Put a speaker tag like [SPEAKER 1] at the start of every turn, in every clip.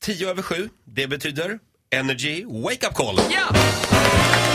[SPEAKER 1] 10 över 7, det betyder Energy Wake Up Call.
[SPEAKER 2] Ja!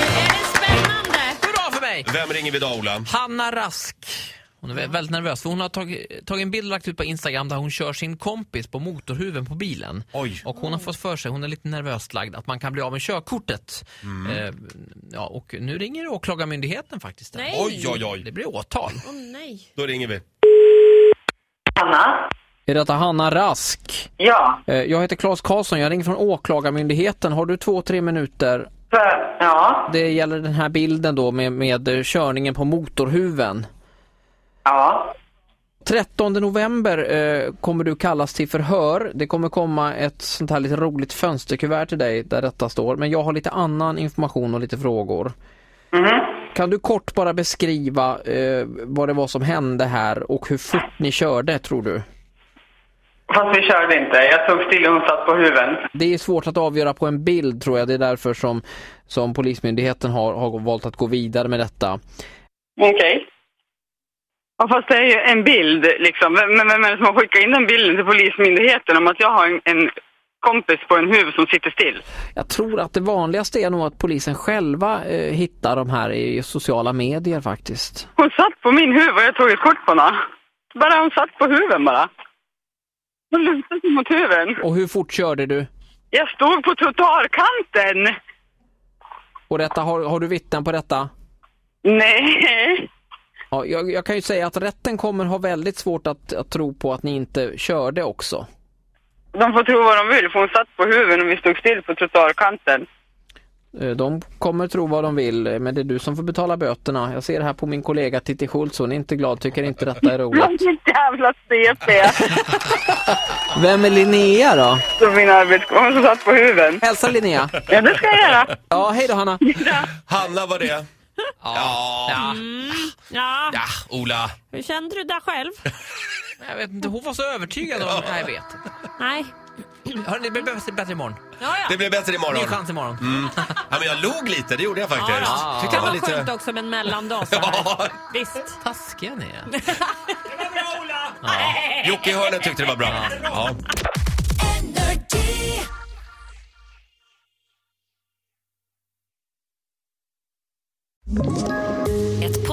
[SPEAKER 3] Är det spännande?
[SPEAKER 2] Hurra för mig!
[SPEAKER 1] Vem ringer vi idag, Ola?
[SPEAKER 2] Hanna Rask. Hon är vä- väldigt nervös för hon har tagit, tagit en bild och lagt ut på Instagram där hon kör sin kompis på motorhuven på bilen.
[SPEAKER 1] Oj.
[SPEAKER 2] Och hon har fått för sig, hon är lite nervöst lagd, att man kan bli av med körkortet. Eh, ja, och nu ringer åklagarmyndigheten faktiskt.
[SPEAKER 3] Nej.
[SPEAKER 1] Oj, oj, oj.
[SPEAKER 2] Det blir åtal.
[SPEAKER 3] Åh nej.
[SPEAKER 1] Då ringer vi.
[SPEAKER 4] Anna?
[SPEAKER 2] Är detta Hanna Rask? Eh,
[SPEAKER 4] Ja.
[SPEAKER 2] Jag heter Claes Karlsson, jag ringer från Åklagarmyndigheten. Har du två, tre minuter?
[SPEAKER 4] För, ja.
[SPEAKER 2] Det gäller den här bilden då med, med eh, körningen på motorhuven.
[SPEAKER 4] Ja.
[SPEAKER 2] 13 november eh, kommer du kallas till förhör. Det kommer komma ett sånt här lite roligt fönsterkuvert till dig där detta står. Men jag har lite annan information och lite frågor. Kan du kort bara beskriva eh, vad det var som hände här och hur fort ni körde tror du?
[SPEAKER 4] Fast vi körde inte. Jag stod still och hon satt på huven.
[SPEAKER 2] Det är svårt att avgöra på en bild tror jag. Det är därför som, som Polismyndigheten har, har valt att gå vidare med detta.
[SPEAKER 4] Okej. Ja, fast det är ju en bild liksom. Vem, vem vem är det som har skickat in den bilden till Polismyndigheten om att jag har en, en kompis på en huv som sitter still?
[SPEAKER 2] Jag tror att det vanligaste är nog att polisen själva eh, hittar de här i sociala medier faktiskt.
[SPEAKER 4] Hon satt på min huv och jag tog ett kort på henne. Bara hon satt på huven bara. Hon lutade sig mot huven.
[SPEAKER 2] Och hur fort körde du?
[SPEAKER 4] Jag stod på trottoarkanten.
[SPEAKER 2] Och detta, har, har du vittnen på detta?
[SPEAKER 4] Nej.
[SPEAKER 2] Ja, jag, jag kan ju säga att rätten kommer ha väldigt svårt att, att tro på att ni inte körde också.
[SPEAKER 4] De får tro vad de vill för hon satt på huven och vi stod still på trottoarkanten.
[SPEAKER 2] Eh, De kommer tro vad de vill, eh, men det är du som får betala böterna. Jag ser här på min kollega Titti Schultz, hon är inte glad, tycker inte detta är roligt.
[SPEAKER 4] Vilket jävla CP!
[SPEAKER 2] Vem är Linnea då?
[SPEAKER 4] Som min arbetskompis som satt på huven.
[SPEAKER 2] Hälsa Linnea!
[SPEAKER 4] Ja, det ska jag göra.
[SPEAKER 2] Ja, hej då Hanna!
[SPEAKER 1] Hanna var det. Ja.
[SPEAKER 3] Ja,
[SPEAKER 1] Ja, Ola.
[SPEAKER 3] hur kände du där själv?
[SPEAKER 2] Jag vet inte, hon var så övertygad om... Nej, jag vet inte.
[SPEAKER 3] Nej.
[SPEAKER 2] Hörrni, det blir bättre imorgon.
[SPEAKER 3] Ja, ja.
[SPEAKER 1] Det blir bättre
[SPEAKER 2] Ny
[SPEAKER 1] imorgon.
[SPEAKER 2] chans imorgon.
[SPEAKER 1] Ja, men jag log lite, det gjorde jag faktiskt.
[SPEAKER 3] Ja, då.
[SPEAKER 1] Tyckte jag
[SPEAKER 3] Det kan
[SPEAKER 1] var
[SPEAKER 3] vara skönt
[SPEAKER 1] lite...
[SPEAKER 3] också med en mellandag så här.
[SPEAKER 1] Ja,
[SPEAKER 3] Visst.
[SPEAKER 2] Taskiga ni är.
[SPEAKER 1] Jocke i hörnet tyckte det var bra. Ja.
[SPEAKER 5] Ett